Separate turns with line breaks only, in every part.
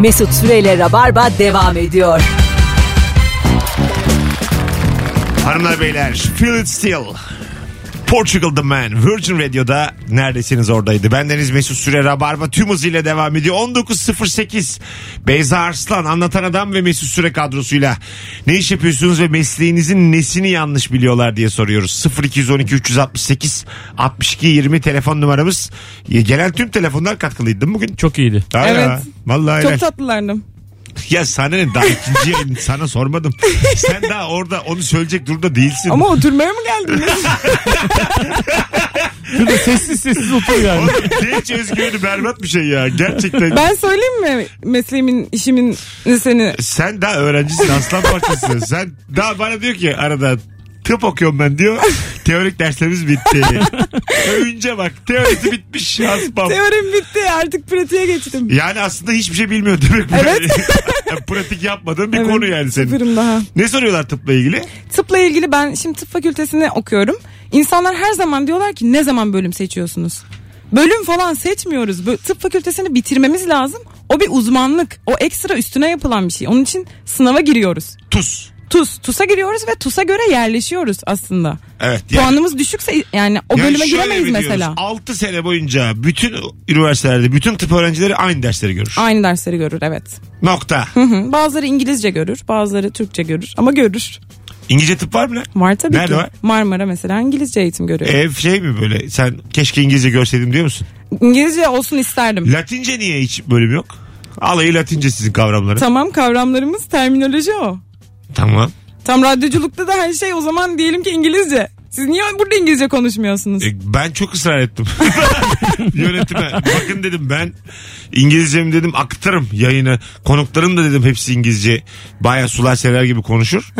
Mesut Süreyle Rabarba devam ediyor.
Hanımlar beyler Feel It Still Portugal The Man Virgin Radio'da neredesiniz oradaydı. Bendeniz Mesut Süre Rabarba tüm hızıyla devam ediyor. 19.08 Beyza Arslan Anlatan Adam ve Mesut Süre kadrosuyla ne iş yapıyorsunuz ve mesleğinizin nesini yanlış biliyorlar diye soruyoruz. 0212 368 62 20 telefon numaramız. Gelen tüm telefonlar katkılıydı değil mi bugün?
Çok iyiydi.
Hala.
Evet.
Vallahi helal.
Çok tatlılardım.
Ya sana ne daha ikinci yayın sana sormadım. Sen daha orada onu söyleyecek durumda değilsin.
Ama oturmaya mı geldiniz?
Şurada sessiz sessiz otur yani.
Oğlum Genç özgüveni berbat bir şey ya. Gerçekten.
ben söyleyeyim mi mesleğimin, işimin ne seni?
Sen daha öğrencisin aslan parçası. Sen daha bana diyor ki arada tıp okuyorum ben diyor. Teorik derslerimiz bitti. Övünce bak teorisi bitmiş aspam.
Teorim bitti artık pratiğe geçtim.
Yani aslında hiçbir şey bilmiyor demek. bu.
Evet.
Yani Pratik yapmadığın bir
Evet,
konu yani senin.
Sıfırım daha.
Ne soruyorlar tıpla ilgili?
Tıpla ilgili ben şimdi tıp fakültesini okuyorum. İnsanlar her zaman diyorlar ki ne zaman bölüm seçiyorsunuz? Bölüm falan seçmiyoruz. Bö- tıp fakültesini bitirmemiz lazım. O bir uzmanlık. O ekstra üstüne yapılan bir şey. Onun için sınava giriyoruz.
Tuz.
TUS. TUS'a giriyoruz ve TUS'a göre yerleşiyoruz aslında.
Evet.
Puanımız düşükse yani o
Yani
bölüme
şöyle
giremeyiz
mi diyoruz?
mesela.
6 sene boyunca bütün üniversitelerde bütün tıp öğrencileri aynı dersleri görür.
Aynı dersleri görür evet.
Nokta.
Hı hı. Bazıları İngilizce görür, bazıları Türkçe görür ama görür.
İngilizce tıp var mı lan?
Var tabii
Nerede
ki.
var?
Marmara mesela İngilizce eğitim görüyor.
Ev şey mi böyle sen keşke İngilizce görseydim diyor musun?
İngilizce olsun isterdim.
Latince niye hiç bölüm yok? Alayı Latince sizin kavramları.
Tamam kavramlarımız terminoloji o.
tamam.
Tam radyoculukta da her şey o zaman diyelim ki İngilizce. Siz niye burada İngilizce konuşmuyorsunuz?
E, ben çok ısrar ettim. Yönetime bakın dedim ben İngilizcemi dedim aktarım yayını. Konuklarım da dedim hepsi İngilizce. Baya sular sever gibi konuşur.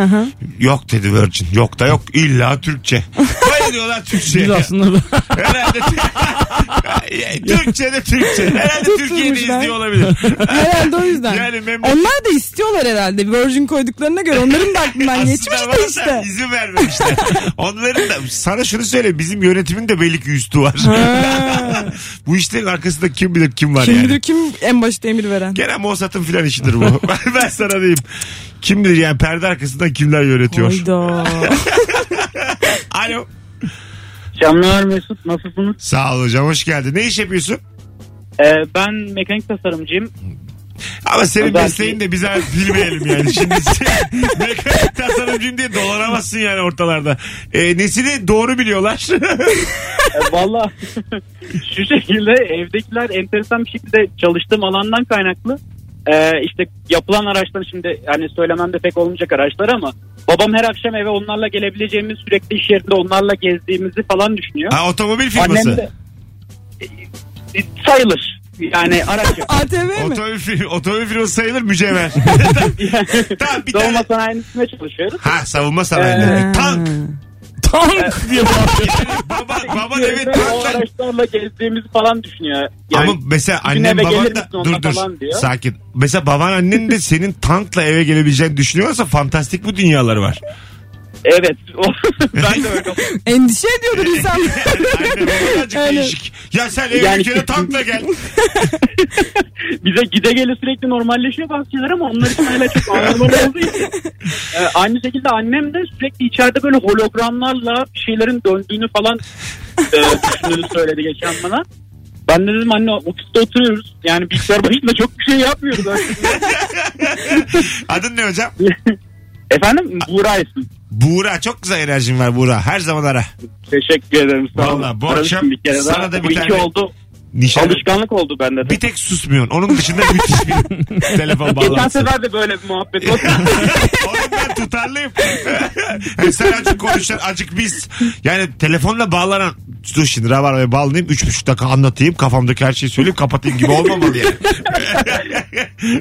Yok dedi Virgin. Yok da yok. İlla Türkçe. Bayılıyorlar Türkçe'ye.
Biz aslında
Herhalde Türkçe de Türkçe. Herhalde
Çok
Türkiye'deyiz
duymuşlar.
diye olabilir.
Herhalde o yüzden.
Yani memleket-
Onlar da istiyorlar herhalde. Virgin koyduklarına göre onların da aklından geçmiş
Aslında
de
bana da
işte.
izin vermemişler. Onların da sana şunu söyle bizim yönetimin de belli ki üstü var. bu işlerin arkasında kim bilir kim var
Kim
yani.
bilir kim en başta emir veren.
Gene Mossad'ın filan işidir bu. ben sana diyeyim. Kim bilir yani perde arkasından kimler yönetiyor.
Hayda.
Alo.
Canlar Mesut nasılsınız?
Sağ ol hocam hoş geldin. Ne iş yapıyorsun?
Ee, ben mekanik tasarımcıyım.
Ama senin
Ben-
mesleğin de bize bilmeyelim yani. Şimdi sen mekanik tasarımcıyım diye dolanamazsın yani ortalarda. E, nesini doğru biliyorlar.
Ee, Valla şu şekilde evdekiler enteresan bir şekilde çalıştığım alandan kaynaklı. Ee, işte yapılan araçlar şimdi hani söylemem de pek olmayacak araçlar ama babam her akşam eve onlarla gelebileceğimiz sürekli iş yerinde onlarla gezdiğimizi falan düşünüyor.
ha, otomobil firması.
Annem de Ee, sayılır. Yani araç yok.
ATV mi?
Otomobil, fir- otomobil firması sayılır mücevher. tamam bir
Savunma
tane.
sanayisinde çalışıyoruz.
Ha savunma sanayileri.
Ee.
Tank.
tank diye bağırıyor.
Baba, baban
Ve
evet
o
tankla.
araçlarla gezdiğimizi falan düşünüyor. Yani
Ama mesela
"Bugün
annen
eve gelir
baban da
misin ona?"
dur dur
falan diyor.
sakin. Mesela baban annen de senin tankla eve gelebileceğini düşünüyorsa fantastik bu dünyaları var.
Evet. ben de öyle.
Endişe ediyordur insan.
Aynen birazcık
Öyle.
değişik. Ya sen eve
Yani-
bir kere tankla gel.
Bize gide gele sürekli normalleşiyor bazı şeyler ama onlar için hala çok anlamalı olduğu için. Ee, aynı şekilde annem de sürekli içeride böyle hologramlarla bir şeylerin döndüğünü falan e, düşündüğünü söyledi geçen bana. Ben de dedim anne ofiste oturuyoruz. Yani bilgisayar başında çok bir şey yapmıyoruz. aslında."
Adın ne hocam?
Efendim Buğra ismi.
Buğra çok güzel enerjin var Buğra. Her zaman ara.
Teşekkür ederim. Sağ olun.
Vallahi bu
Aradım
akşam
bir kere daha.
sana da bir
Bu iki
tane-
oldu.
Nişan.
Alışkanlık oldu bende de.
Bir tek susmuyorsun. Onun dışında müthiş bir telefon
Geçen
bağlantısı.
sefer de böyle bir muhabbet oldu.
Oğlum ben tutarlıyım. Hem sen acık konuşan acık biz. Yani telefonla bağlanan dur şimdi rabarmaya bağlanayım. Üç buçuk dakika anlatayım. Kafamdaki her şeyi söyleyip kapatayım gibi olmamalı yani.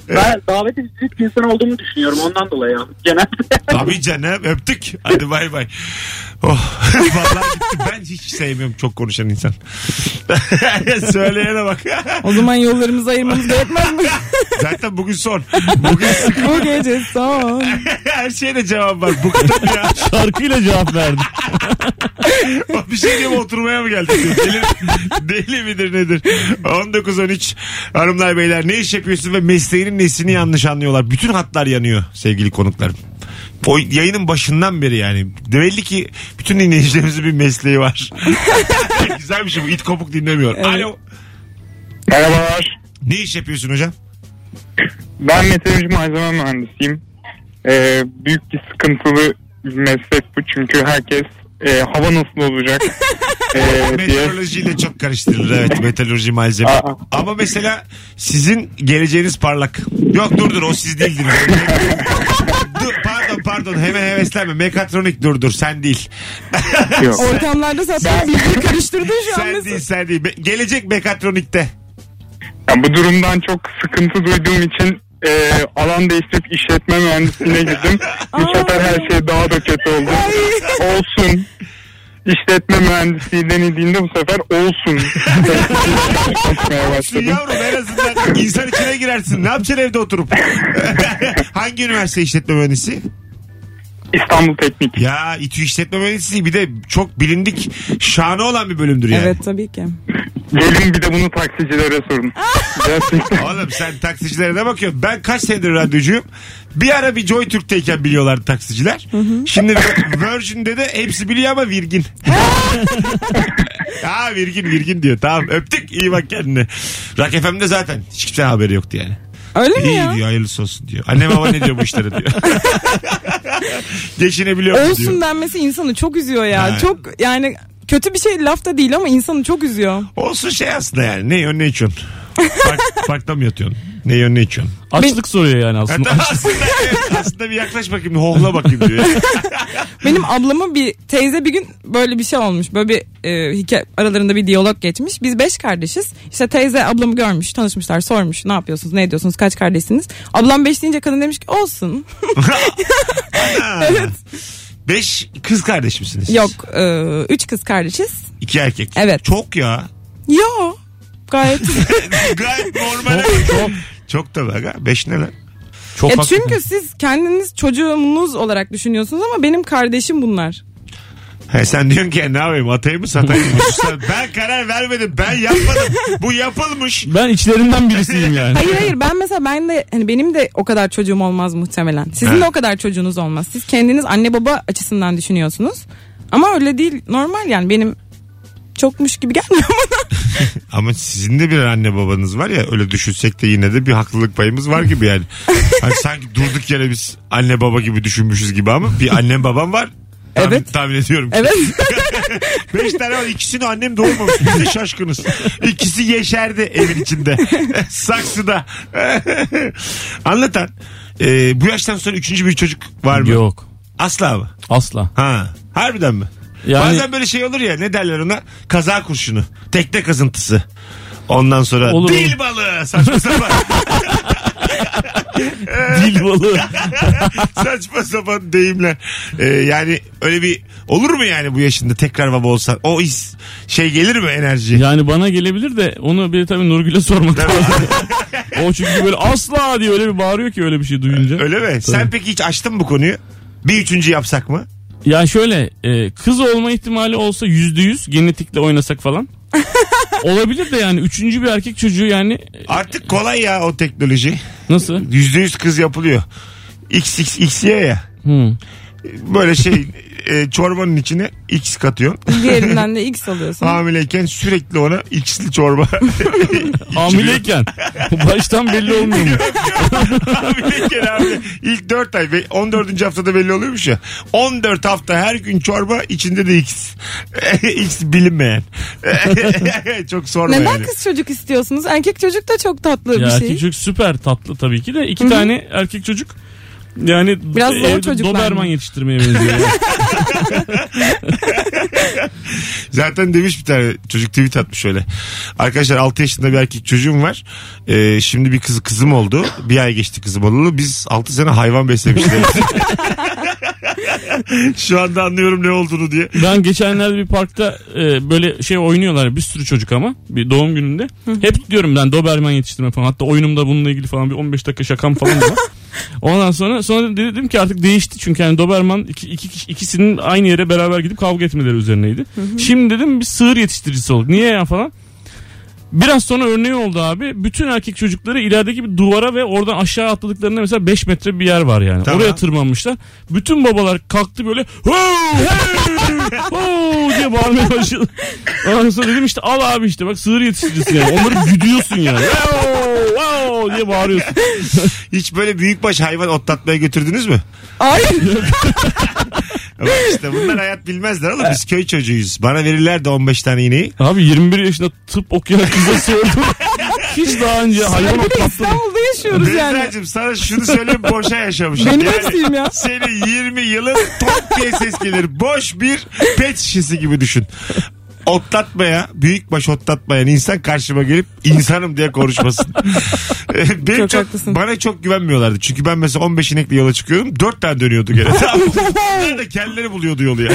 ben daveti ciddi bir insan olduğumu düşünüyorum ondan dolayı. Genelde.
Tabii canım öptük. Hadi bay bay. Oh, vallahi gitti. Ben hiç sevmiyorum çok konuşan insan. Söyleyene bak.
o zaman yollarımızı ayırmamız gerekmez mi?
Zaten bugün son. Bugün sıkı
Bu gece son.
Her şeye de cevap var. Bıktım ya.
Şarkıyla cevap verdim.
bir şey diyeyim oturmaya mı geldik? diyor. Deli, deli midir nedir? 19-13 hanımlar beyler ne iş yapıyorsun ve mesleğinin nesini yanlış anlıyorlar. Bütün hatlar yanıyor sevgili konuklarım. O yayının başından beri yani. Belli ki bütün dinleyicilerimizin bir mesleği var. Güzel bir şey bu. İt kopuk dinlemiyor. Alo.
Merhabalar.
Ne iş yapıyorsun hocam?
Ben meteoroloji malzeme mühendisiyim. Ee, büyük bir sıkıntılı bir meslek bu çünkü herkes e, hava nasıl olacak e, diye.
Meteorolojiyle çok karıştırılır evet meteoroloji malzeme.
Aa.
Ama mesela sizin geleceğiniz parlak. Yok dur dur o siz değildiniz. dur, pardon pardon hemen heveslenme. Mekatronik dur dur sen değil.
Yok.
Ortamlarda zaten bilgiyi karıştırdın şu an.
sen
mesela.
değil sen değil. Be- gelecek mekatronikte.
Yani bu durumdan çok sıkıntı duyduğum için e, alan değiştirip işletme mühendisliğine girdim. bu sefer her şey daha da kötü oldu. Olsun. İşletme mühendisliği denildiğinde bu sefer olsun. Konuşmaya
Şu
başladım.
yavrum en azından insan içine girersin. Ne yapacaksın evde oturup? Hangi üniversite işletme mühendisi?
İstanbul Teknik.
Ya İTÜ işletme mühendisliği bir de çok bilindik şanı olan bir bölümdür yani.
Evet tabii ki.
Gelin bir de bunu taksicilere sorun. Gerçekten.
Oğlum sen taksicilere ne bakıyorsun? Ben kaç senedir radyocuyum. Bir ara bir Joy Türk'teyken biliyorlar taksiciler. Şimdi Virgin'de de hepsi biliyor ama Virgin. ha Virgin Virgin diyor. Tamam öptük iyi bak kendine. Rock FM'de zaten hiç kimsenin haberi yoktu yani.
Öyle mi
İyi
ya?
diyor hayırlısı olsun diyor. Annem baba ne diyor bu işlere diyor. Geçinebiliyor mu diyor.
Olsun denmesi insanı çok üzüyor ya.
Ha.
Çok yani kötü bir şey laf da değil ama insanı çok üzüyor.
Olsun şey aslında yani. Ne yiyorsun ne içiyorsun. Park, parkta mı yatıyorsun? Ne yiyorsun ne içiyorsun?
Açlık soruyor yani aslında.
Hatta aslında, evet, aslında bir yaklaş bakayım bir hohla bakayım diyor. Hmm.
Benim ablamın bir teyze bir gün böyle bir şey olmuş. Böyle bir e, hikaye, aralarında bir diyalog geçmiş. Biz beş kardeşiz. İşte teyze ablamı görmüş, tanışmışlar, sormuş. Ne yapıyorsunuz, ne ediyorsunuz, kaç kardeşsiniz? Ablam beş deyince kadın demiş ki olsun.
evet. Beş kız kardeş misiniz? siz?
Yok, e, üç kız kardeşiz.
İki erkek.
Evet.
Çok ya.
Yo, gayet.
Gayet normal. çok. Çok da aga. Beş ne lan?
Çok
ya
haklısın.
E, çünkü siz kendiniz çocuğunuz olarak düşünüyorsunuz ama benim kardeşim bunlar.
He, sen diyorsun ki ne yapayım atayım mı satayım mı? Sen- ben karar vermedim. Ben yapmadım. Bu yapılmış.
Ben içlerinden birisiyim yani.
Hayır hayır ben mesela ben de hani benim de o kadar çocuğum olmaz muhtemelen. Sizin de o kadar çocuğunuz olmaz. Siz kendiniz anne baba açısından düşünüyorsunuz. Ama öyle değil normal yani benim çokmuş gibi gelmiyor bana.
Ama sizin de bir anne babanız var ya öyle düşünsek de yine de bir haklılık payımız var gibi yani. Hani sanki durduk yere biz anne baba gibi düşünmüşüz gibi ama bir annem babam var. Tahmin-
Evet.
Tahmin ediyorum. ki.
Evet.
Beş tane var. İkisini annem doğurmamış. Biz de şaşkınız. İkisi yeşerdi evin içinde. Saksıda. Anlatan. e, bu yaştan sonra üçüncü bir çocuk var mı?
Yok.
Asla mı?
Asla.
Ha. Harbiden mi?
Yani-
Bazen böyle şey olur ya ne derler ona? Kaza kurşunu. Tekne kazıntısı. Ondan sonra
Olur,
dil
olur.
balığı saçma sapan
Dil balığı.
saçma sapan deyimler. E, yani öyle bir olur mu yani bu yaşında tekrar baba olsan o his şey gelir mi enerji?
Yani bana gelebilir de onu bir tabii Nurgül'e sormak lazım. o çünkü böyle asla diye öyle bir bağırıyor ki öyle bir şey duyunca.
Öyle mi? Sen peki hiç açtın mı bu konuyu? Bir üçüncü yapsak mı?
Ya şöyle e, kız olma ihtimali olsa yüzde yüz genetikle oynasak falan. Olabilir de yani üçüncü bir erkek çocuğu yani e,
Artık kolay ya o teknoloji.
nasıl?
Yüzde yüz kız yapılıyor. XXXY ya.
Hmm.
Böyle şey e, çorbanın içine X katıyorsun.
Diğerinden de X alıyorsun.
Hamileyken sürekli ona X'li çorba.
Hamileyken baştan belli olmuyor mu?
Hamileyken abi ilk 4 ay ve 14. haftada belli oluyormuş ya. 14 hafta her gün çorba içinde de X. X bilinmeyen. Çok sorma
Neden
yani.
kız çocuk istiyorsunuz? Erkek çocuk da çok tatlı
Ya
bir şey.
erkek çocuk süper tatlı tabii ki de iki tane erkek çocuk yani
Biraz zor
evde
çocuklar
Doberman
mı?
yetiştirmeye benziyor. yani.
Zaten demiş bir tane çocuk tweet atmış öyle. Arkadaşlar 6 yaşında bir erkek çocuğum var. Ee, şimdi bir kızı kızım oldu. Bir ay geçti kızım olalı. Biz 6 sene hayvan beslemiştik. Şu anda anlıyorum ne olduğunu diye.
Ben geçenlerde bir parkta e, böyle şey oynuyorlar bir sürü çocuk ama bir doğum gününde. Hep diyorum ben Doberman yetiştirme falan. Hatta oyunumda bununla ilgili falan bir 15 dakika şakam falan da var. Ondan sonra sonra dedim ki artık değişti çünkü yani Doberman iki, iki kişi- ikisinin aynı yere beraber gidip kavga etmeleri üzerineydi. Şimdi dedim bir sığır yetiştiricisi olduk. Niye ya falan. Biraz sonra örneği oldu abi. Bütün erkek çocukları ilerideki bir duvara ve oradan aşağı atladıklarında mesela 5 metre bir yer var yani.
Tamam.
Oraya tırmanmışlar. Bütün babalar kalktı böyle "Hoo, hey, hoo" diye bağırmaya başladı. Ondan sonra dedim işte al abi işte bak sığır yetiştiricisi yani. Onları güdüyorsun yani. "Wow, wow" diye bağırıyorsun.
Hiç böyle büyükbaş hayvan otlatmaya götürdünüz mü?
Ay
Bak işte bunlar hayat bilmezler oğlum biz köy çocuğuyuz. Bana verirler de 15 tane ineği.
Abi 21 yaşında tıp okuyan kıza sordum. Hiç daha önce hayvan
bir de
otlattım.
İstanbul'da yaşıyoruz yani.
Beyza'cığım sana şunu söyleyeyim boşa yaşamışım.
Benim eksiğim ya.
Senin 20 yılın top diye ses gelir. Boş bir pet şişesi gibi düşün. Otlatmaya, büyükbaş otlatmayan insan karşıma gelip insanım diye konuşmasın. Ee, Benim
Çok
çok,
haklısın.
bana çok güvenmiyorlardı. Çünkü ben mesela 15 inekle yola çıkıyordum. 4 tane dönüyordu gene. Tamam mı? Bunlar da kendileri buluyordu yolu ya.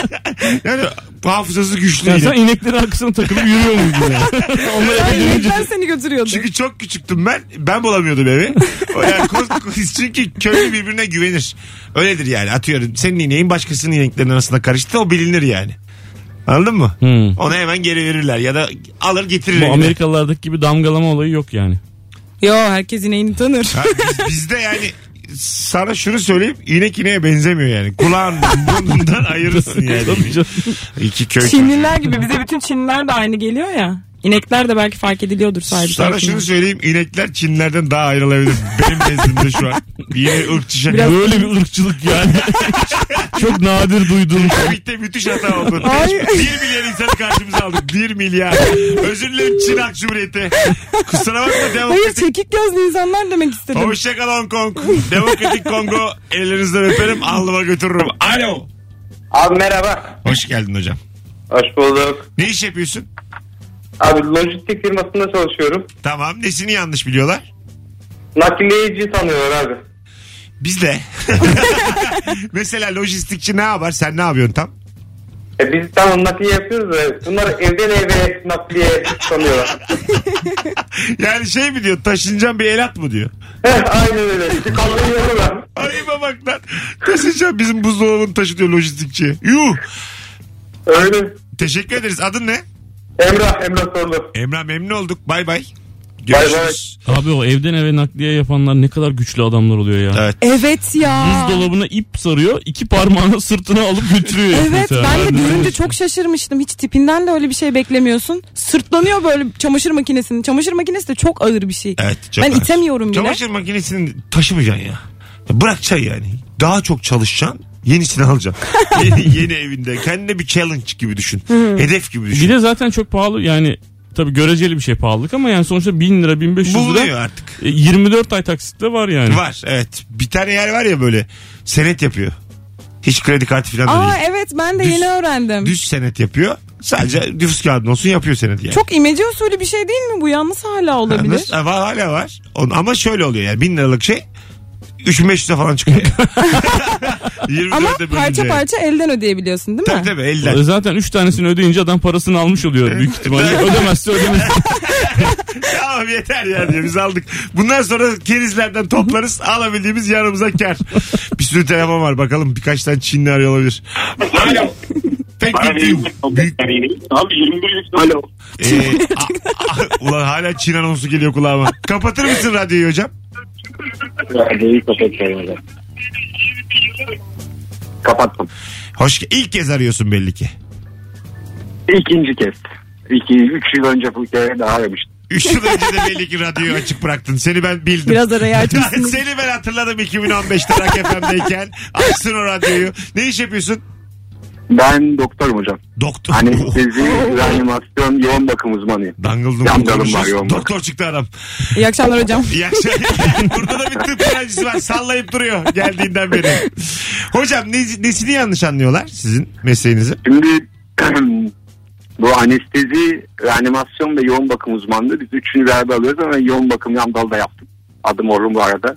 yani hafızası güçlü.
Yani
yine.
sen ineklerin arkasına takılıp yürüyor muydun yani? Onlar eve gelince.
Yemekler seni götürüyordu.
Çünkü çok küçüktüm ben. Ben bulamıyordum evi. O Yani kos- kos- çünkü köylü birbirine güvenir. Öyledir yani. Atıyorum senin ineğin başkasının ineklerinin arasında karıştı o bilinir yani. Anladın mı?
Hmm.
Ona hemen geri verirler ya da alır getirir.
Bu
evine.
Amerikalılardaki gibi damgalama olayı yok yani.
Yo herkes ineğini tanır.
Ha, biz- bizde yani sana şunu söyleyeyim inek ineğe benzemiyor yani. Kulağın burnundan ayırırsın yani.
Tabii canım.
İki köy.
Çinliler gibi bize bütün Çinliler de aynı geliyor ya. İnekler de belki fark ediliyordur sahibi.
Sana
tarafından.
şunu söyleyeyim inekler Çinlerden daha ayrılabilir. Benim nezdimde şu an. Yine ırkçı şaka.
Böyle bir ırkçılık yani. Çok nadir duyduğum.
Komikte müthiş hata oldu.
Ay.
1 milyar insanı karşımıza aldık. 1 milyar. Özür dilerim Çin Halk Cumhuriyeti. Kusura bakma
Hayır
demokratik.
çekik gözlü insanlar demek istedim.
Hoşçakal Hong Kong. Demokratik Kongo. Ellerinizden öperim. Alnıma götürürüm. Alo.
Abi merhaba.
Hoş geldin hocam.
Hoş bulduk.
Ne iş yapıyorsun?
Abi lojistik firmasında çalışıyorum.
Tamam. Nesini yanlış biliyorlar?
Nakliyeci sanıyorlar abi.
Biz de. Mesela lojistikçi ne yapar? Sen ne yapıyorsun tam?
E biz tamam nakliye yapıyoruz da bunlar evden eve nakliye sanıyorlar.
Yani şey mi diyor? Taşınacağım bir el at mı diyor?
Heh, Aynen öyle. İşte Kaldırıyorlar.
Ayıba bak lan. Taşınacağım bizim buzdolabını taşıtıyor lojistikçi. Yuh.
Öyle.
Teşekkür ederiz. Adın ne?
Emrah, Emrah sordu.
Emrah memnun olduk. Bay bay.
bay.
Görüşürüz.
Abi o evden eve nakliye yapanlar ne kadar güçlü adamlar oluyor ya.
Evet.
Evet ya.
Buzdolabına ip sarıyor. iki parmağını sırtına alıp götürüyor. herif
Evet
mesela.
ben de
Nereden
görünce
alıyorsun?
çok şaşırmıştım. Hiç tipinden de öyle bir şey beklemiyorsun. Sırtlanıyor böyle çamaşır makinesinin. Çamaşır makinesi de çok ağır bir şey.
Evet, çok
ben
ağır.
itemiyorum bile.
Çamaşır makinesini taşımayacaksın ya. Ya Bırakacaksın yani. Daha çok çalışacaksın. Yenisini alacaksın. yeni, yeni evinde. Kendine bir challenge gibi düşün. Hedef gibi düşün.
Bir de zaten çok pahalı yani tabii göreceli bir şey pahalılık ama yani sonuçta 1000 lira 1500
Bulunuyor
lira
artık.
e, 24 ay taksitle var yani.
Var evet. Bir tane yer var ya böyle senet yapıyor. Hiç kredi kartı falan da
Aa
değil.
evet ben de
Düz-
yeni öğrendim.
Düz senet yapıyor. Sadece nüfus kağıdın olsun yapıyor senet yani.
Çok imece usulü bir şey değil mi bu? Yalnız hala
Ha,
olabilir.
nasıl- ha, var, hala var. On- Ama şöyle oluyor yani bin liralık şey 3500'e falan çıkıyor. 24'e
Ama
bölünce.
parça parça elden ödeyebiliyorsun değil mi?
şey? Tabii tabii elden.
E, Zaten 3 tanesini ödeyince adam parasını almış oluyor büyük ihtimalle. Ödemezse ödemez.
tamam yeter ya diye biz aldık. Bundan sonra kerizlerden toplarız alabildiğimiz yanımıza kar. Bir sürü telefon var bakalım birkaç tane Çinli arıyor olabilir. Alo. Pek bir büyük. büyük-
Abi 21 yaşında. Alo.
Ee, a- a- ulan hala Çin anonsu geliyor kulağıma. Kapatır mısın radyoyu hocam?
Radyoyu kapatıyorum. Kapattım.
Hoş ge- ilk kez arıyorsun belli ki.
İkinci kez. İki, üç yıl önce bu hikaye daha yemiştim.
Üç yıl önce de belli ki radyoyu açık bıraktın. Seni ben bildim.
Biraz araya açmışsınız.
Seni ben hatırladım 2015'te Rock FM'deyken. Açtın o radyoyu. Ne iş yapıyorsun?
Ben doktorum hocam.
Doktor. Oh.
Anestezi, reanimasyon, yoğun bakım uzmanıyım.
Dangle
Hani Yan
Dungle
dalım
konuşuyoruz.
var, yoğun
Doktor çıktı adam.
İyi akşamlar hocam.
İyi akşamlar. Burada da bir tıp öğrencisi var. Sallayıp duruyor geldiğinden beri. Hocam ne- nesini yanlış anlıyorlar sizin mesleğinizi?
Şimdi bu anestezi, reanimasyon ve yoğun bakım uzmanlığı biz üçünü beraber alıyoruz ama ben yoğun bakım yan dal da yaptım. Adım Orhun bu arada.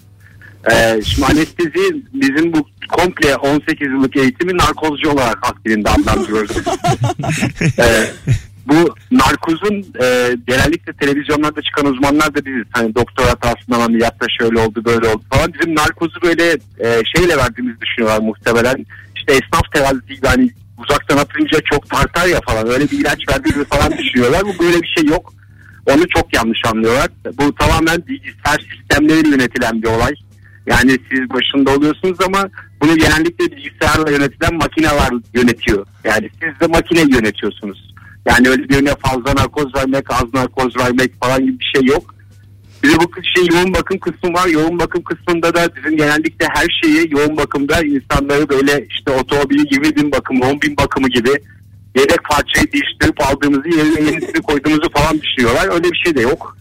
Ee, şimdi anestezi bizim bu komple 18 yıllık eğitimi narkozcu olarak akbilinde adlandırıyoruz. Ee,
bu narkozun e, genellikle televizyonlarda çıkan uzmanlar da biziz. Hani doktor hatasında ameliyatta şöyle oldu böyle oldu falan. Bizim narkozu böyle e, şeyle verdiğimizi düşünüyorlar muhtemelen. İşte esnaf terazisi gibi hani uzaktan atınca çok tartar ya falan öyle bir ilaç verdiğimizi falan düşünüyorlar. Bu böyle bir şey yok. Onu çok yanlış anlıyorlar. Bu tamamen bilgisayar sistemleriyle yönetilen bir olay. Yani siz başında oluyorsunuz ama bunu genellikle bilgisayarla yönetilen makineler yönetiyor. Yani siz de makine yönetiyorsunuz. Yani öyle birine fazla narkoz vermek, az narkoz vermek falan gibi bir şey yok. Bir de bu şey yoğun bakım kısmı var. Yoğun bakım kısmında da bizim genellikle her şeyi yoğun bakımda insanları böyle işte otomobili 20 bin bakımı, 10 bin bakımı gibi yedek parçayı değiştirip aldığımızı yerine yenisini koyduğumuzu falan düşünüyorlar. Öyle bir şey de yok.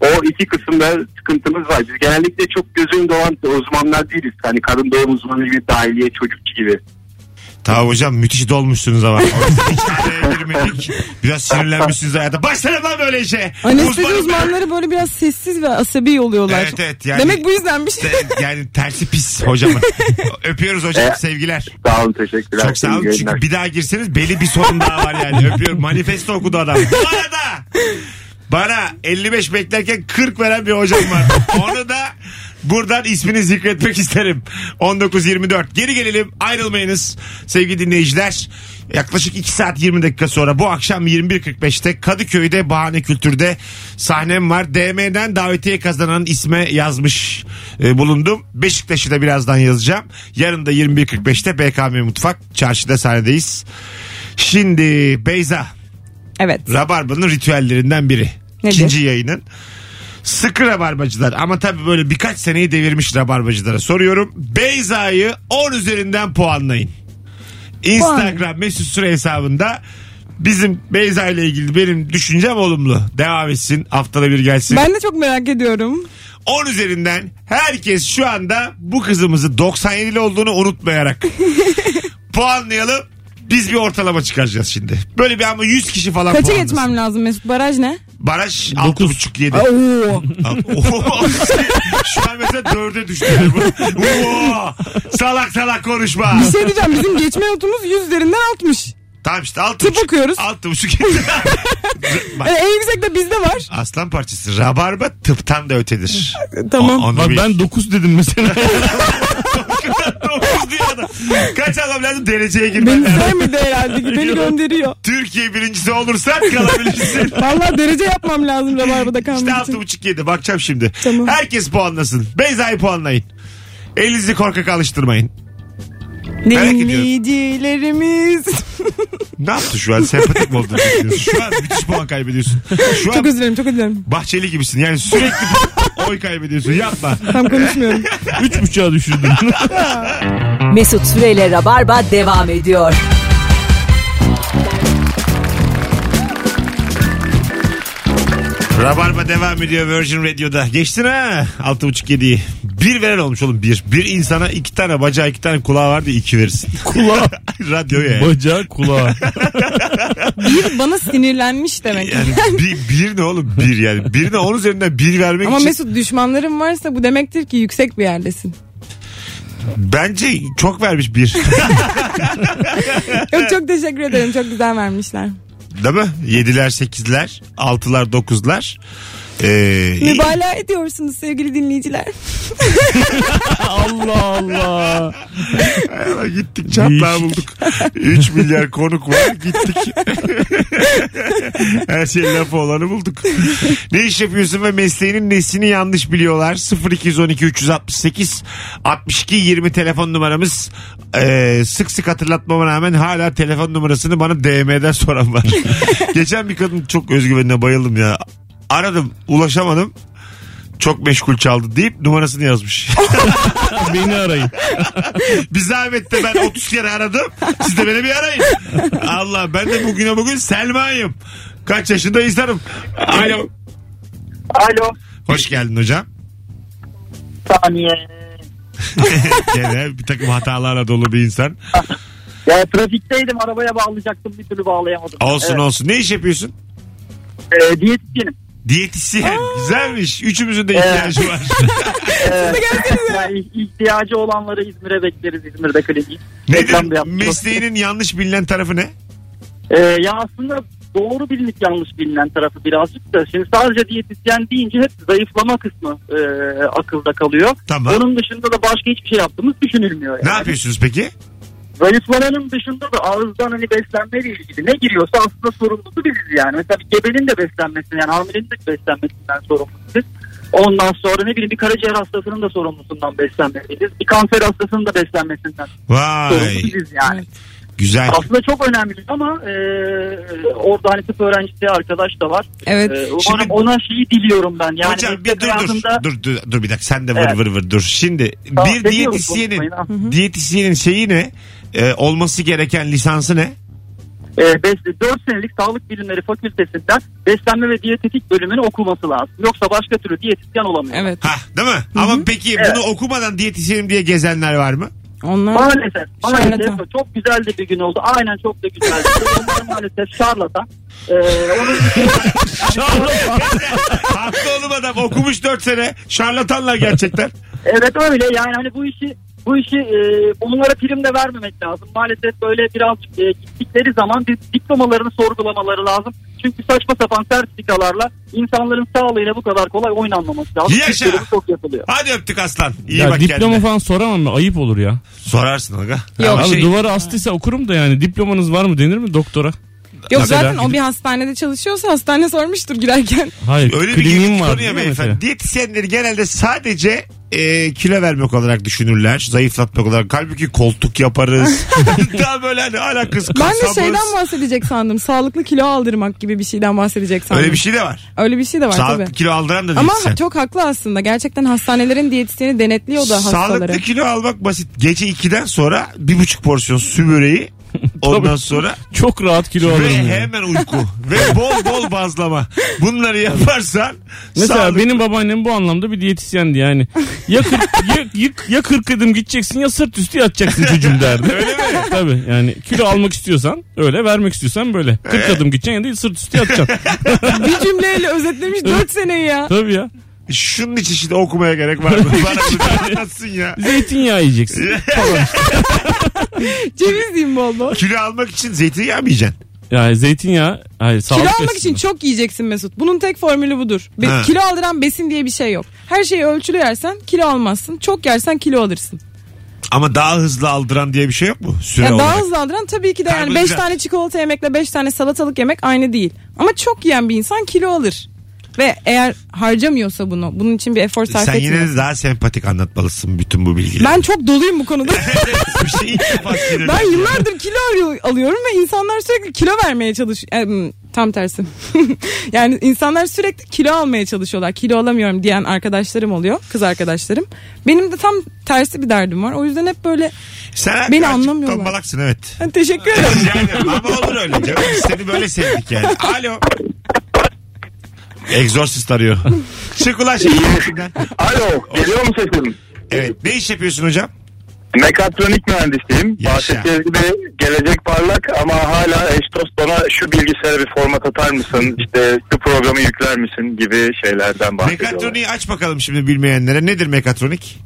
O iki kısımda sıkıntımız var. Biz genellikle çok göz önünde olan uzmanlar değiliz. Hani kadın doğum uzmanı gibi, dahiliye, çocukçu gibi.
Tamam hocam müthiş dolmuşsunuz ama. Hikayeye girmedik. Biraz sinirlenmişsiniz hayata. Başlarım lan böyle işe.
Anestezi
Uzmanım ben.
Hani uzmanları böyle biraz sessiz ve asabi oluyorlar.
Evet, evet, yani-
Demek bu şey- yüzdenmiş.
Te- yani tersi pis hocamın. Öpüyoruz hocam sevgiler.
Sağ olun teşekkürler.
Çok sağ
İyi
olun.
yayınlar.
Çünkü bir daha girseniz belli bir sorun daha var yani. Öpüyorum. Manifesto okudu adam. Bu arada bana 55 beklerken 40 veren bir hocam var. Onu da buradan ismini zikretmek isterim. 19.24. Geri gelelim ayrılmayınız sevgili dinleyiciler. Yaklaşık 2 saat 20 dakika sonra bu akşam 21.45'te Kadıköy'de Bahane Kültür'de sahnem var. DM'den davetiye kazanan isme yazmış e, bulundum. Beşiktaş'ı da birazdan yazacağım. Yarın da 21.45'te BKM Mutfak çarşıda sahnedeyiz. Şimdi Beyza
Evet.
Rabarba'nın ritüellerinden biri.
Nedir?
İkinci yayının. Sıkı rabarbacılar ama tabii böyle birkaç seneyi devirmiş rabarbacılara soruyorum. Beyza'yı 10 üzerinden puanlayın. Instagram mesut süre hesabında bizim Beyza ile ilgili benim düşüncem olumlu. Devam etsin haftada bir gelsin.
Ben de çok merak ediyorum.
10 üzerinden herkes şu anda bu kızımızı 97'li olduğunu unutmayarak puanlayalım. Biz bir ortalama çıkaracağız şimdi. Böyle bir ama 100 kişi falan
Kaça
puanlasın.
geçmem lazım Mesut? Baraj ne?
Baraj
Dokuz.
6.5 7.
Oo.
Şu an mesela 4'e düştü. yani bu. Oo, salak salak konuşma.
Bir şey diyeceğim bizim geçme notumuz yüzlerinden 60.
Tamam işte 6.5.
Tıp okuyoruz.
6.5
E,
Bak.
en yüksek de bizde var.
Aslan parçası. Rabarba tıptan da ötedir.
Tamam.
O- onu
Bak
bil.
ben 9 dedim mesela.
Dokuz diyor adam. Kaç adam lazım dereceye girmen
Beni
lazım.
sevmedi herhalde. Beni gönderiyor.
Türkiye birincisi olursan kalabilirsin.
Vallahi derece yapmam lazım Rabarba'da kalmak
işte
için.
6.5 7 bakacağım şimdi.
Tamam.
Herkes puanlasın. Beyza'yı puanlayın. Elinizi korkak alıştırmayın. merak ediyorum.
Dinleyicilerimiz.
Ne yaptı şu an? Sempatik mi oldun? Şu an müthiş puan kaybediyorsun. Şu
çok
an
özür dilerim çok özür dilerim.
bahçeli gibisin. Yani sürekli oy kaybediyorsun. Yapma.
Tam konuşmuyorum.
3.5'a düşürdüm.
Mesut Süreyle Rabarba devam ediyor.
Rabarba devam ediyor Virgin Radio'da. Geçtin ha 6.5-7'yi. Bir veren olmuş oğlum bir. Bir insana iki tane bacağı iki tane kulağı vardı iki verirsin.
Kulağı,
Radyoya yani.
bacağı, kulağı.
Bir bana sinirlenmiş demek.
Yani bir, bir ne oğlum bir yani. Birine on üzerinden bir vermek
Ama
için
Mesut düşmanların varsa bu demektir ki yüksek bir yerdesin.
bence çok vermiş bir.
Yok çok teşekkür ederim. Çok güzel vermişler.
Değil mi? Yediler sekizler altılar dokuzlar. Ee,
Mübalağa ediyorsunuz sevgili dinleyiciler.
Allah Allah.
Eyvah, gittik çatlağı
Değişik.
bulduk. 3 milyar konuk var gittik. Her şey lafı olanı bulduk. Ne iş yapıyorsun ve mesleğinin nesini yanlış biliyorlar. 0212 368 62 20 telefon numaramız. Ee, sık sık hatırlatmama rağmen hala telefon numarasını bana DM'den soran var. Geçen bir kadın çok özgüvenine bayıldım ya. Aradım ulaşamadım. Çok meşgul çaldı deyip numarasını yazmış.
Beni arayın.
Bir zahmet de ben 30 kere aradım. Siz de beni bir arayın. Allah ben de bugüne bugün Selma'yım. Kaç yaşında insanım. Alo.
Alo.
Hoş geldin hocam.
Saniye.
Gene bir takım hatalarla dolu bir insan.
Ya trafikteydim arabaya bağlayacaktım bir türlü bağlayamadım.
Olsun
Evet.
olsun. Ne iş yapıyorsun?
Ee, diyetisyenim.
Diyetisyen. Güzelmiş. Üçümüzün de ihtiyacı var.
Ee, yani ihtiyacı olanları İzmir'e bekleriz. İzmir'de klinik. Reklam da
Nedir?
yaptım.
Mesleğinin yanlış bilinen tarafı ne?
Ee, ya aslında
doğru bilinip yanlış bilinen tarafı birazcık da. Şimdi sadece diyetisyen deyince hep zayıflama kısmı e, akılda kalıyor.
Tamam.
Onun dışında da başka hiçbir şey yaptığımız düşünülmüyor.
Ne
yani.
yapıyorsunuz peki?
Zayıflamanın dışında da ağızdan hani beslenmeyle ilgili ne giriyorsa aslında sorumlusu biziz yani. Mesela bir gebenin de beslenmesi yani hamilenin de beslenmesinden sorumlusu biz. Ondan sonra ne bileyim bir karaciğer hastasının da sorumlusundan beslenmeliyiz. Bir kanser hastasının da beslenmesinden sorumlusu
Vay
biziz yani.
güzel.
Aslında çok önemli ama e, orada hani tıp öğrencisi arkadaş da var.
Evet.
E, umarım
Şimdi-
ona şeyi diliyorum ben. Yani
Hocam bir
meslek
dur dur,
hayatımda-
dur dur dur bir dakika sen de vır
Evet.
vır vır dur. Şimdi
Tamam,
bir
seviyorum
diyetisyenin
konuşmayı, ha.
diyetisyenin şeyi ne? Ee, olması gereken lisansı ne?
e, 4 senelik sağlık bilimleri fakültesinden beslenme ve diyetetik bölümünü okuması lazım. Yoksa başka türlü diyetisyen olamıyor.
Evet.
Ha değil mi? Ama peki bunu okumadan diyetisyenim diye gezenler var mı?
Onlar
Maalesef, maalesef
Şarlatan.
çok güzel de bir gün oldu. Aynen çok da güzeldi. Bunlar maalesef şarlatan. Ee, onun
Haklı oğlum adam okumuş 4 sene. Şarlatanlar gerçekten.
Evet öyle yani hani bu işi bu işi e, bunlara prim de vermemek lazım. Maalesef böyle biraz e, gittikleri zaman biz diplomalarını sorgulamaları lazım. Çünkü saçma sapan sertifikalarla insanların sağlığıyla bu kadar kolay oynanmaması lazım.
Yaşa!
Türkiye'de bu çok yapılıyor.
Hadi öptük aslan. İyi
Ya
bak
diploma
kendine.
falan soramam mı? Ayıp olur ya.
Sorarsın aga.
Yok.
Ama
Abi
şey-
duvara astıysa okurum da yani diplomanız var mı denir mi doktora?
Yok
Mesela
zaten o
gidip-
bir hastanede çalışıyorsa hastane sormuştur girerken.
Hayır.
Öyle bir
kliniğim
girdik
var.
konuya
değil mi
beyefendi.
mesela?
Diyetisyenleri genelde sadece e, kilo vermek olarak düşünürler. Zayıflatmak olarak. Halbuki koltuk yaparız. Daha böyle hani alakası
Ben de
kasabız.
şeyden bahsedecek sandım. Sağlıklı kilo aldırmak gibi bir şeyden bahsedecek sandım.
Öyle bir şey de var.
Öyle bir şey de var
Sağlıklı
tabii.
kilo aldıran da
Ama
diyetisyen.
çok haklı aslında. Gerçekten hastanelerin diyetisyeni denetliyor da hastaları.
Sağlıklı kilo almak basit. Gece 2'den sonra bir buçuk porsiyon su böreği. Ondan
Tabii.
sonra
Çok rahat kilo alırım.
ve
yani.
hemen uyku. ve bol bol bazlama. Bunları yaparsan
Mesela
sağlıklı-
benim babaannem bu anlamda bir diyetisyendi yani. Ya kırk, ya, ya, ya kırk adım gideceksin ya sırt üstü yatacaksın çocuğum derdi. öyle mi? Tabii yani kilo almak istiyorsan öyle vermek istiyorsan böyle. Kırk adım gideceksin ya da sırt üstü yatacaksın.
bir cümleyle özetlemiş 4 seneyi ya.
Tabii ya.
Şunun için şimdi okumaya gerek var mı? Bana bunu anlatsın ya.
Zeytinyağı yiyeceksin.
Ceviz yiyeyim bol bol.
Kilo almak için zeytinyağı mı yiyeceksin?
Yani zeytinyağı hayır
Kilo
sağlık
almak
açısından.
için çok yiyeceksin Mesut. Bunun tek formülü budur. Be-
Ha.
Kilo aldıran besin diye bir şey yok. Her şeyi ölçülü yersen kilo almazsın. Çok yersen kilo alırsın.
Ama daha hızlı aldıran diye bir şey yok mu? Süre
Yani daha
olarak.
hızlı aldıran tabii ki de yani
Karbonhidrat.
5 tane çikolata yemekle 5 tane salatalık yemek aynı değil. Ama çok yiyen bir insan kilo alır. Ve eğer harcamıyorsa bunu, bunun için bir efor sarf
Sen yine
etmiyor.
de daha sempatik anlatmalısın bütün bu bilgileri.
Ben çok doluyum bu konuda.
bir şey ilk defa sinirlendim.
ben yıllardır kilo arıyor- alıyorum ve insanlar sürekli kilo vermeye çalışıyor. tam tersi. yani insanlar sürekli kilo almaya çalışıyorlar. Kilo alamıyorum diyen arkadaşlarım oluyor. Kız arkadaşlarım. Benim de tam tersi bir derdim var. O yüzden hep böyle
Sen
Beni
birazcık
anlamıyorlar.
Tombalaksın evet.
"Ha, teşekkür ederim.
Yani ama olur öyle canım. Biz seni böyle sevdik yani. Alo. Exorcist arıyor. Çık ulan şimdi içinden.
Alo geliyor mu sesim?
Evet. Ne iş yapıyorsun hocam?
Mekatronik mühendisiyim.
Yaşa.
Bahsettiğiniz gibi gelecek parlak ama hala eş dost bana şu bilgisayara bir format atar mısın? İşte şu programı yükler misin gibi şeylerden bahsediyorlar.
Mekatroniği aç bakalım şimdi bilmeyenlere. Nedir mekatronik?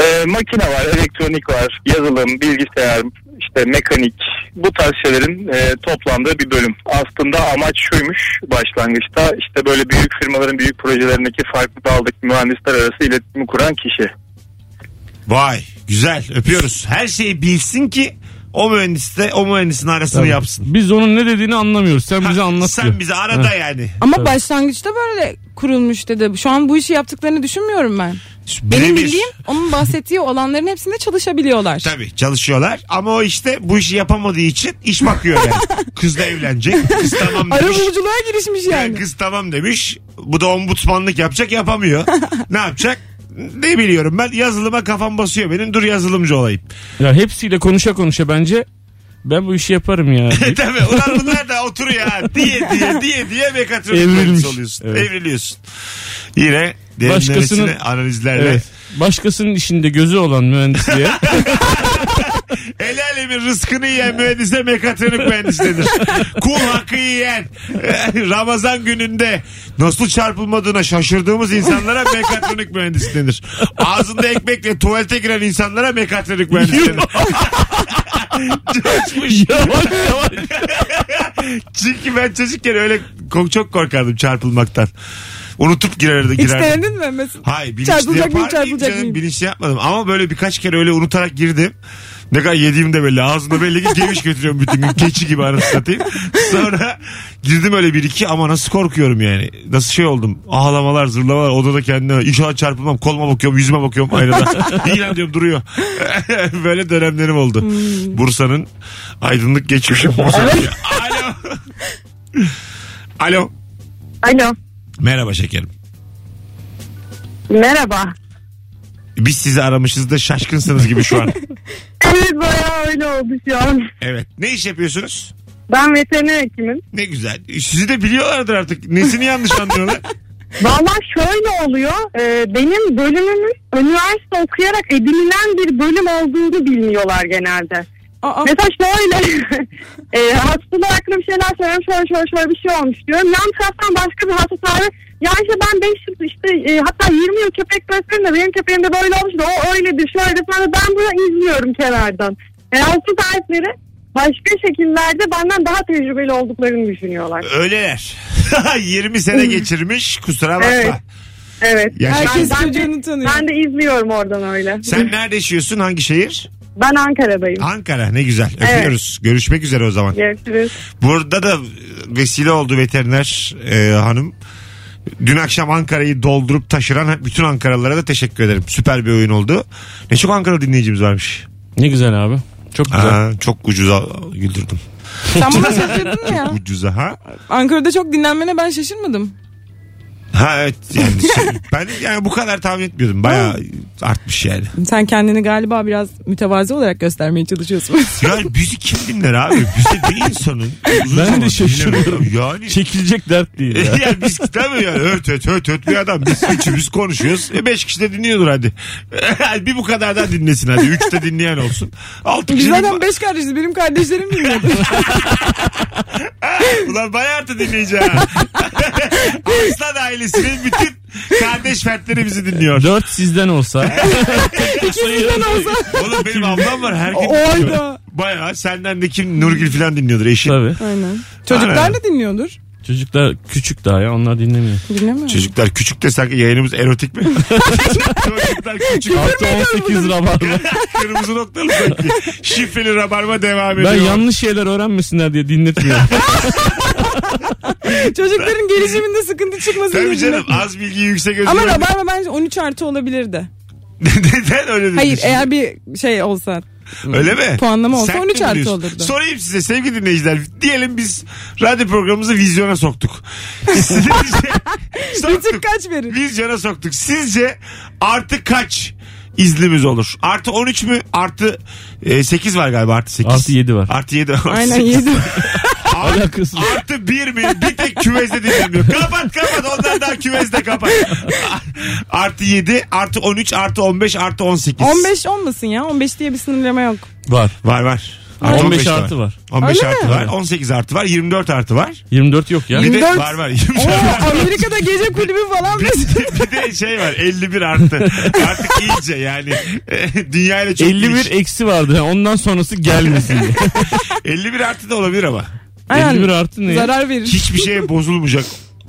Ee, makine var, elektronik var, yazılım, bilgisayar, işte mekanik bu tarz şeylerin e, toplandığı bir bölüm. Aslında amaç şuymuş başlangıçta işte böyle büyük firmaların büyük projelerindeki farklı daldaki mühendisler arası iletişimi kuran kişi.
Vay güzel öpüyoruz. Her şeyi bilsin ki o mühendis de o mühendisin arasını
Tabii.
yapsın.
Biz onun ne dediğini anlamıyoruz. Sen bize anlat diyor.
Sen bizi arada yani.
Ama başlangıçta böyle kurulmuş dedi. Şu an bu işi yaptıklarını düşünmüyorum ben. Benim
Birebir.
bildiğim onun bahsettiği olanların hepsinde çalışabiliyorlar.
Tabii çalışıyorlar ama o işte bu işi yapamadığı için iş bakıyor yani. Kızla evlenecek. Kız tamam
Ara
demiş.
buluculuğa girişmiş
Yani
yani.
kız tamam demiş. Bu da ombudsmanlık yapacak yapamıyor. ne yapacak? Ne biliyorum ben yazılıma kafam basıyor benim dur yazılımcı olayım.
Ya hepsiyle konuşa konuşa bence ben bu işi yaparım ya.
E tabi ulan bunlar da oturuyor ha diye diye diye diye mekatronik
Evrilmiş.
mühendisi oluyorsun.
Evet.
Evriliyorsun. Yine
Başkasının-
derinlemesine analizlerle
evet. Başkasının işinde gözü olan mühendisliğe
El alemin rızkını yiyen mühendise mekatronik mühendis denir. Kul hakkı yiyen. Ramazan gününde nasıl çarpılmadığına şaşırdığımız insanlara mekatronik mühendis denir. Ağzında ekmekle tuvalete giren insanlara mekatronik mühendis denir. Coşmuş.
yavaş yavaş
Çünkü ben çocukken öyle ko- çok korkardım çarpılmaktan. Unutup girer,
Hiç
girerdim.
denedin mi Mesut?
Hayır bilinçli
Çarpılacak
yapar
mıyım, çarpılacak
canım,
mıyım?
Bilinçli yapmadım ama böyle birkaç kere öyle unutarak girdim. Ne kadar yediğim de belli. Ağzımda belli ki geviş götürüyorum bütün gün. Keçi gibi arası satayım. Sonra girdim öyle bir iki ama nasıl korkuyorum yani. Nasıl şey oldum. Ağlamalar, zırlamalar. Odada kendime. İnşallah çarpılmam. Koluma bakıyorum, yüzüme bakıyorum aynada. İlan diyorum duruyor. böyle dönemlerim oldu.
Hmm.
Bursa'nın aydınlık geçmişi. Bursa'nın- Alo. Alo.
Alo.
Merhaba şekerim.
Merhaba.
Biz sizi aramışız da şaşkınsınız gibi şu an.
Evet bayağı öyle oldu şu an.
Evet. Ne iş yapıyorsunuz?
Ben veteriner hekimim.
Ne güzel. Sizi de biliyorlardır artık. Nesini yanlış anlıyorlar?
Valla şöyle oluyor. e, benim bölümümün üniversite okuyarak edinilen bir bölüm olduğunu bilmiyorlar genelde.
Aa,
Mesela şöyle e, hastalar hakkında bir şeyler söylüyorum şöyle şöyle şöyle bir şey olmuş diyorum. Yan taraftan başka bir hasta tarih ya işte ben 5 yıl işte e, hatta 20 yıl köpek beslerim de benim köpeğim de böyle olmuş da o öyledir şöyledir falan da ben bunu izliyorum kenardan. E, hasta tarifleri başka şekillerde benden daha tecrübeli olduklarını düşünüyorlar.
Öyleler. 20 sene geçirmiş. Kusura bakma.
Evet. Evet.
Yaşa-
herkes
Ben- ben de-
çocuğunu tanıyor.
Ben de izliyorum oradan öyle.
Sen nerede yaşıyorsun? Hangi şehir?
Ben Ankara'dayım.
Ankara. Ne güzel. Öpüyoruz. Görüşmek üzere o zaman.
Görüşürüz.
Burada da vesile oldu veteriner e, hanım. Dün akşam Ankara'yı doldurup taşıran bütün Ankaralılara da teşekkür ederim. Süper bir oyun oldu. Ne çok Ankara dinleyicimiz varmış.
Ne güzel abi. Çok güzel.
Aa, çok ucuza güldürdüm.
Sen buna şaşırdın mı ya?
Ucuza ha?
Ankara'da çok dinlenmene ben şaşırmadım.
Ha evet yani şey- ben yani bu kadar tahmin etmiyordum. Baya artmış yani.
Sen kendini galiba biraz mütevazi olarak göstermeye çalışıyorsun.
Ya bizi kim dinler abi? Bizi bir insanın uzun
Ben de
zamandır
şaşırıyorum. Şey-
dinlemiyor. Yani
Çekilecek dert değil ya.
ya biz tabii yani öt öt öt öt bir adam biz üçümüz konuşuyoruz. E beş kişi de dinliyordur hadi. bir bu kadar da dinlesin hadi. Üç de dinleyen olsun. Altı
Biz
kişi
zaten beş kardeşiz. Benim kardeşlerim dinliyordu.
Ulan bayağı artı dinleyici ha. Aslan ailesinin bütün kardeş fertleri bizi dinliyor.
Dört sizden olsa.
İkisinden olsa.
Oğlum benim ablam var her gün dinliyor.
Oyda.
Bayağı senden de kim Nurgül falan dinliyordur eşi.
Tabii.
Aynen. Çocuklar da dinliyordur.
Çocuklar küçük daha ya onlar dinlemiyor.
Dinlemiyor.
Çocuklar küçük de sanki yayınımız erotik mi? Çocuklar küçük.
Artı 18 rabarba.
Kırmızı noktalı sanki. Şifreli rabarba devam ediyor.
Ben yanlış şeyler öğrenmesinler diye dinletmiyorum.
Çocukların gelişiminde sıkıntı çıkmasın diye
Tabii canım
dinletmiyor.
az bilgi yüksek özgüven.
Ama Rabarba bence 13 artı olabilirdi.
Neden öyle dedin?
Hayır
şimdi?
eğer bir şey olsa.
Öyle mi?
Puanlama olsa
Sen
13
mi
artı
biliyorsun?
olurdu.
Sorayım size sevgili dinleyiciler. Diyelim biz radyo programımızı vizyona soktuk. Sizce...
Bütün
soktuk.
kaç verir?
Vizyona soktuk. Sizce artı kaç izlimiz olur? Artı 13 mü? Artı e, 8 var galiba artı 8.
Artı 7 var.
Artı 7.
Aynen 7.
Alakası yok.
Artı bir mi? Bir tek küvezde dinlemiyor. Kapat kapat. Onlar daha küvezde kapat. Artı 7, artı 13, artı 15, artı 18.
15 olmasın ya. 15 diye bir sınırlama yok.
Var.
Var var.
15,
15 de
artı var.
15
Öyle
artı
mi?
var. 18 artı var. 24 artı var.
24 yok ya.
Bir de
24
var var. 24
Oo,
var.
Amerika'da gece kulübü falan
Bir,
biz.
bir de şey var 51 artı. Artık iyice yani dünyayla çok
51
iç.
eksi vardı. Yani Ondan sonrası gelmesin. diye.
51 artı da olabilir ama.
Aynen.
51 artı ne?
Zarar verir.
Hiçbir şeye bozulmayacak.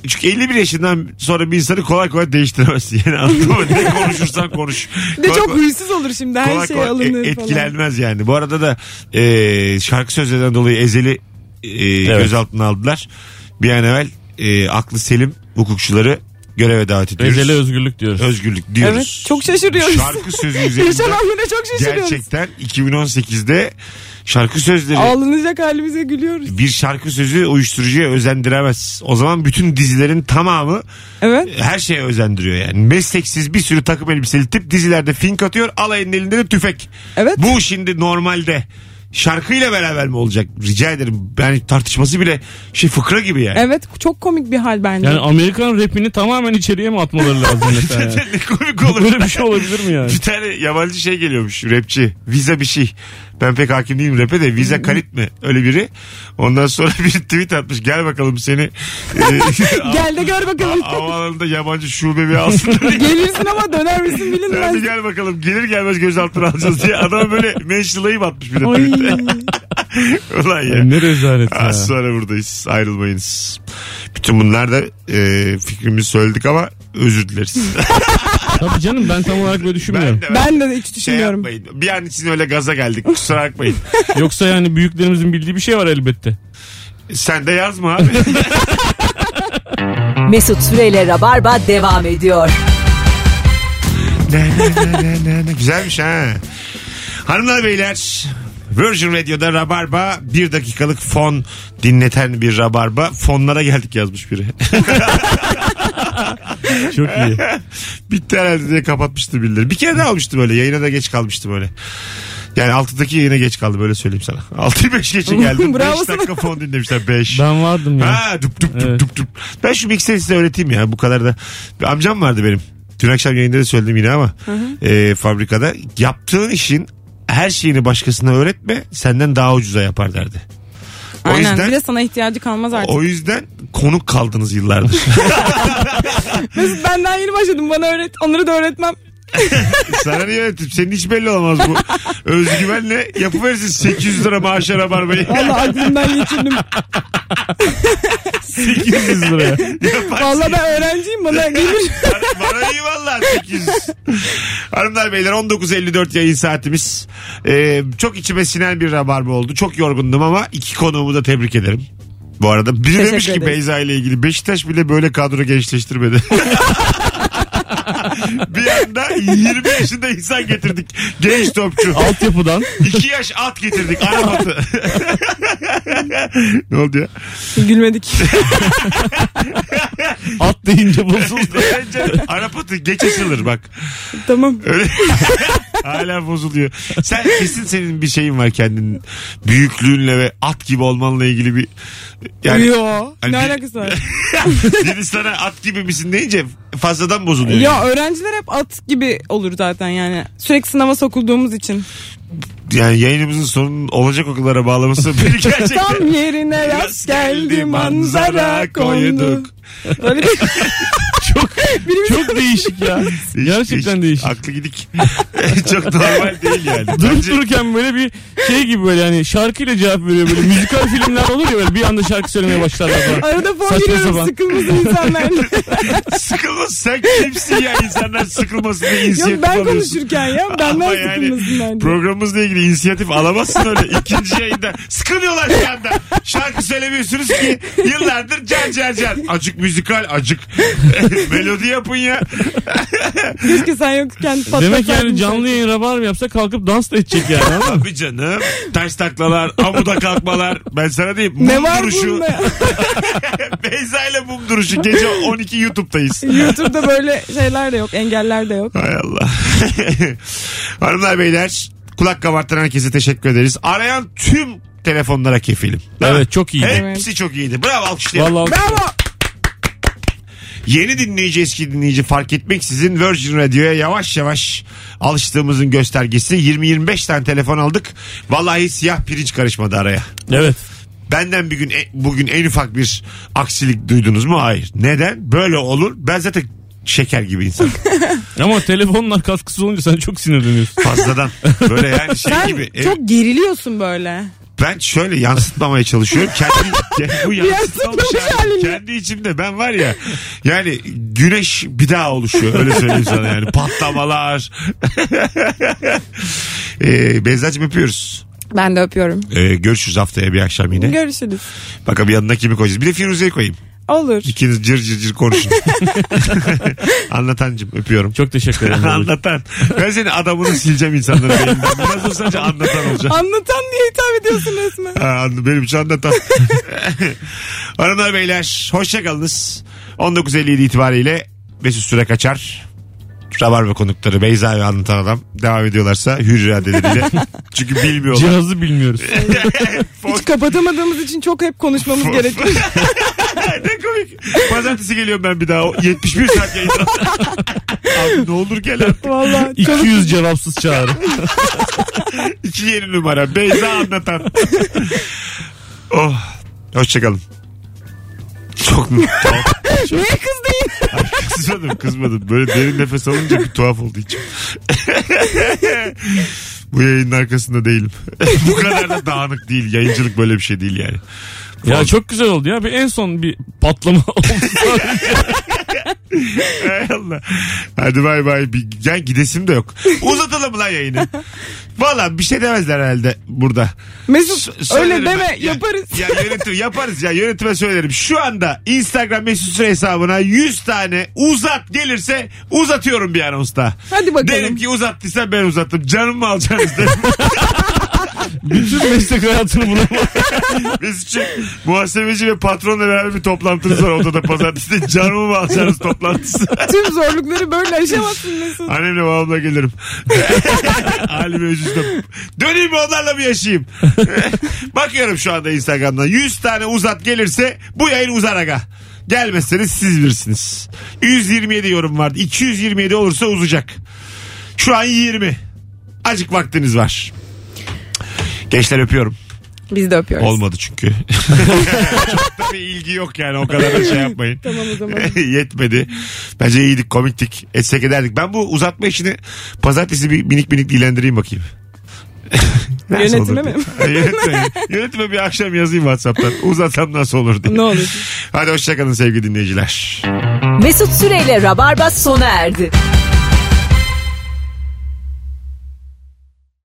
Çünkü 51 yaşından sonra bir insanı kolay kolay değiştiremezsin. Yani anladın mı? Ne konuşursan konuş.
Bir de
Kolay
çok
kolay-
huysuz olur şimdi her
kolay
şey
kolay
alınır
e-
falan.
etkilenmez yani. Bu arada da e, şarkı sözlerinden dolayı Ezel'i e, gözaltına aldılar. Bir an evvel e, aklı selim hukukçuları göreve davet ediyoruz.
Rezele özgürlük diyoruz.
özgürlük diyoruz.
Evet, çok şaşırıyoruz.
Şarkı sözü üzerinde
Yaşananlara çok şaşırıyoruz.
gerçekten 2018'de şarkı sözleri
Ağlanacak halimize gülüyoruz.
bir şarkı sözü uyuşturucuya özendiremez. O zaman bütün dizilerin tamamı
Evet.
her şeye özendiriyor yani. Mesleksiz bir sürü takım elbiseli tip dizilerde fink atıyor. Alayın elinde de tüfek.
Evet.
Bu şimdi normalde şarkıyla beraber mi olacak? Rica ederim. Yani tartışması bile şey fıkra gibi yani.
Evet çok komik bir hal bence.
Yani Amerikan rapini tamamen içeriye mi atmaları lazım mesela? ya?
ne komik olur.
Böyle bir şey olabilir mi yani?
Bir tane yabancı şey geliyormuş rapçi. Vize bir şey. Ben pek hakim değilim rap'e de. Vize kanit mi? Öyle biri. Ondan sonra bir tweet atmış. Gel bakalım seni. e,
Gel de gör bakalım.
Havaalanında yabancı şube bir alsın.
Gelirsin ama döner misin
Hadi
bilinmez.
gel bakalım. Gelir gelmez gözaltına alacağız diye. Adam böyle menşilayı batmış bir de.
Ay.
Ulan ya.
Ya E, ne rezalet ya.
Az sonra buradayız. Ayrılmayınız. Bütün bunlar da e, fikrimizi söyledik ama özür dileriz.
Tabii canım ben tam olarak böyle düşünmüyorum.
ben de
Ben de hiç
şey
düşünmüyorum.
yapmayın. Bir an için öyle gaza geldik. Kusura bakmayın.
Yoksa yani büyüklerimizin bildiği bir şey var elbette.
Sen de yazma abi.
Mesut Süreyle Rabarba devam ediyor.
Ne, ne, ne, ne, ne, ne. Güzelmiş ha. Hanımlar beyler Virgin Radio'da Rabarba bir dakikalık fon dinleten bir Rabarba. Fonlara geldik yazmış biri.
Çok iyi.
Bitti herhalde diye kapatmıştı birileri. Bir kere daha almıştım öyle. Yayına da geç kalmıştım öyle. Yani 6'daki yayına geç kaldım öyle söyleyeyim sana. 6'yı 5 geçe geldim. 5
Bravo sana.
dakika fon dinlemişler 5.
Ben vardım ya.
Ha dup dup dup
Evet.
dup dup. Ben şu mikseri size öğreteyim ya bu kadar da. Bir amcam vardı benim. Dün akşam yayında da söyledim yine ama. e, fabrikada yaptığın işin her şeyini başkasına öğretme senden daha ucuza yapar derdi. O
Aynen.
yüzden
Bir de sana ihtiyacı kalmaz artık.
o yüzden konuk kaldınız yıllardır.
Mesut ben daha yeni başladım. Bana öğret. Onları da öğretmem.
Sana niye öğrettim? Senin hiç belli olmaz bu. Özgüvenle yapıverirsin 800 lira maaşa rabarbayı.
Valla aklımdan geçirdim.
800 liraya.
Yaparsın.
Valla ben öğrenciyim. Bana gelir.
Bana iyi valla 800. Hanımlar beyler 19.54 yayın saatimiz. Ee, çok içime sinen bir rabarba oldu. Çok yorgundum ama iki konuğumu da tebrik ederim. Bu arada biri
Teşekkür
demiş ki
ederiz.
Beyza ile ilgili Beşiktaş bile böyle kadro gençleştirmedi. bir anda 20 yaşında insan getirdik. Genç topçu.
Altyapıdan.
2 yaş at getirdik. Aramatı. ne oldu ya?
Gülmedik.
At deyince bozuldu.
Bence Arap atı geç açılır bak.
tamam.
Öyle- Hala bozuluyor. Sen kesin senin bir şeyin var kendin büyüklüğünle ve at gibi olmanla ilgili bir yani
Yo.
hani
ne
bir-
alakası var?
biri sana at gibi misin deyince fazladan bozuluyor.
Ya öğrenciler hep at gibi olur zaten yani. Sürekli sınava sokulduğumuz için.
Yani yayınımızın sonunun olacak okullara bağlaması beni gerçekten
Tam yerine rast geldi manzara konduk. Böyle bir...
Çok çok değişik ya. Gerçekten değişik.
Aklı gidik. Çok normal değil yani.
Durup
Bence-
dururken böyle bir şey gibi böyle hani şarkıyla cevap veriyor böyle müzikal filmler olur ya böyle bir anda şarkı söylemeye başlarlar falan.
Arada fon
Saçma
giriyorum
sapan.
sıkılmasın insanlar.
Sıkılmasın sen kimsin ya insanlar sıkılmasın diye inisiyatif
Yok ben
alıyorsun.
konuşurken ya
Ama
benden
yani
sıkılmasınlar diye.
Programımızla ilgili inisiyatif alamazsın öyle ikinci yayında. Sıkılıyorlar şu anda. Şarkı söylemiyorsunuz ki yıllardır can can can. Acık müzikal acık. Melodi yapın ya.
Keşke sen yokken şey." patlasaydın.
Demek yani canlı yayın rabar mı yapsa kalkıp dans da edecek yani. anladın mı?
Abi canım. Ters taklalar, amuda kalkmalar. Ben sana diyeyim. Mum
Ne var
duruşu.
bunda?
Beyza ile mum duruşu. Gece 12 YouTube'dayız.
YouTube'da böyle şeyler de yok, engeller de yok.
Hay Allah. Hanımlar beyler kulak kabartan herkese teşekkür ederiz. Arayan tüm telefonlara kefilim. Değil mi?
Evet çok iyi.
Hepsi çok iyiydi. Bravo alkışlayalım.
Vallahi
Bravo.
Yeni dinleyici eski dinleyici fark etmeksizin Virgin Radio'ya yavaş yavaş alıştığımızın göstergesi. 20-25 tane telefon aldık. Vallahi siyah pirinç karışmadı araya.
evet.
Benden bir gün e- bugün en ufak bir aksilik duydunuz mu? Hayır. Neden? Böyle olur. Ben zaten şeker gibi insan.
Ama telefonlar katkısı olunca sen çok sinirleniyorsun.
Fazladan. Böyle yani şey
Sen
gibi. E,
çok geriliyorsun böyle.
Ben şöyle yansıtmamaya çalışıyorum. Kendi, kendi- bu yansıtmamış
Yansıtmamış
halim.
halini.
Kendi içimde ben var ya. Yani güneş bir daha oluşuyor. Öyle söyleyeyim sana yani. Patlamalar. ee, Beyzacığım öpüyoruz.
Ben de öpüyorum.
Ee, görüşürüz haftaya bir akşam yine.
Görüşürüz.
Bakalım yanına kimi koyacağız. Bir de Firuze'yi koyayım.
Olur.
İkiniz cır cır cır konuşun. Anlatancım öpüyorum.
Çok teşekkür ederim.
Anlatan. Ben seni adamını sileceğim insanların beyninden. Biraz olsa sadece anlatan olacak.
Anlatan diye hitap ediyorsun resmen.
Ha, anladım. benim için anlatan. Hanımlar beyler hoşçakalınız. 19.57 itibariyle Mesut Süre kaçar. Rabarba konukları Beyza ve anlatan adam devam ediyorlarsa hür iradeleriyle. Çünkü bilmiyorlar.
Cihazı bilmiyoruz.
Hiç kapatamadığımız için çok hep konuşmamız gerekiyor.
ne komik. Pazartesi geliyorum ben bir daha. O 71 saat yayında. Abi ne olur gel artık.
Valla.
200 cevapsız çağrı.
İki yeni numara. Beyza anlatan. oh. Hoşçakalın. Çok tuhaf.
Niye kızdın yine?
Kızmadım kızmadım. Böyle derin nefes alınca bir tuhaf oldu içim. Bu yayının arkasında değilim. Bu kadar da dağınık değil. Yayıncılık böyle bir şey değil yani.
Ya çok güzel oldu ya. Bir en son bir patlama oldu.
Hay Allah. Hadi bay bay. Bir, gel gidesim de yok. Uzatalım lan yayını. Valla bir şey demezler herhalde burada.
Mesut
S- söylerim
öyle deme
ben. Ya-
yaparız.
Ya, yönetim yaparız ya yönetime söylerim. Şu anda Instagram mesut süre hesabına 100 tane uzat gelirse uzatıyorum bir anonsta.
Hadi bakalım.
Derim ki uzattıysan ben uzattım. Canımı alacaksınız derim.
Bütün meslek hayatını buna bak.
Mesut'cum muhasebeci ve patronla beraber bir toplantınız var odada pazartesi. de Canımı mı alacaksınız toplantısı.
Tüm zorlukları böyle aşamazsın Mesut.
Annemle babamla gelirim. Halime üzüldüm. Döneyim mi onlarla mı yaşayayım? Bakıyorum şu anda Instagram'dan. 100 tane uzat gelirse bu yayın uzar aga. Gelmezseniz siz bilirsiniz. 127 yorum vardı. 227 olursa uzayacak. Şu an 20. Acık vaktiniz var. Gençler öpüyorum.
Biz de öpüyoruz.
Olmadı çünkü. Çok da bir ilgi yok yani o kadar da şey yapmayın.
Tamam o zaman.
Yetmedi. Bence iyiydik, komiktik. Etsek ederdik. Ben bu uzatma işini pazartesi bir minik minik dilendireyim bakayım. Nasıl
Yönetime
olur
mi?
diye. yönetime, yönetime bir akşam yazayım Whatsapp'tan. Uzatsam nasıl olur diye.
ne olur.
Hadi hoşçakalın sevgili dinleyiciler.
Mesut Süreyle Rabarba sona erdi.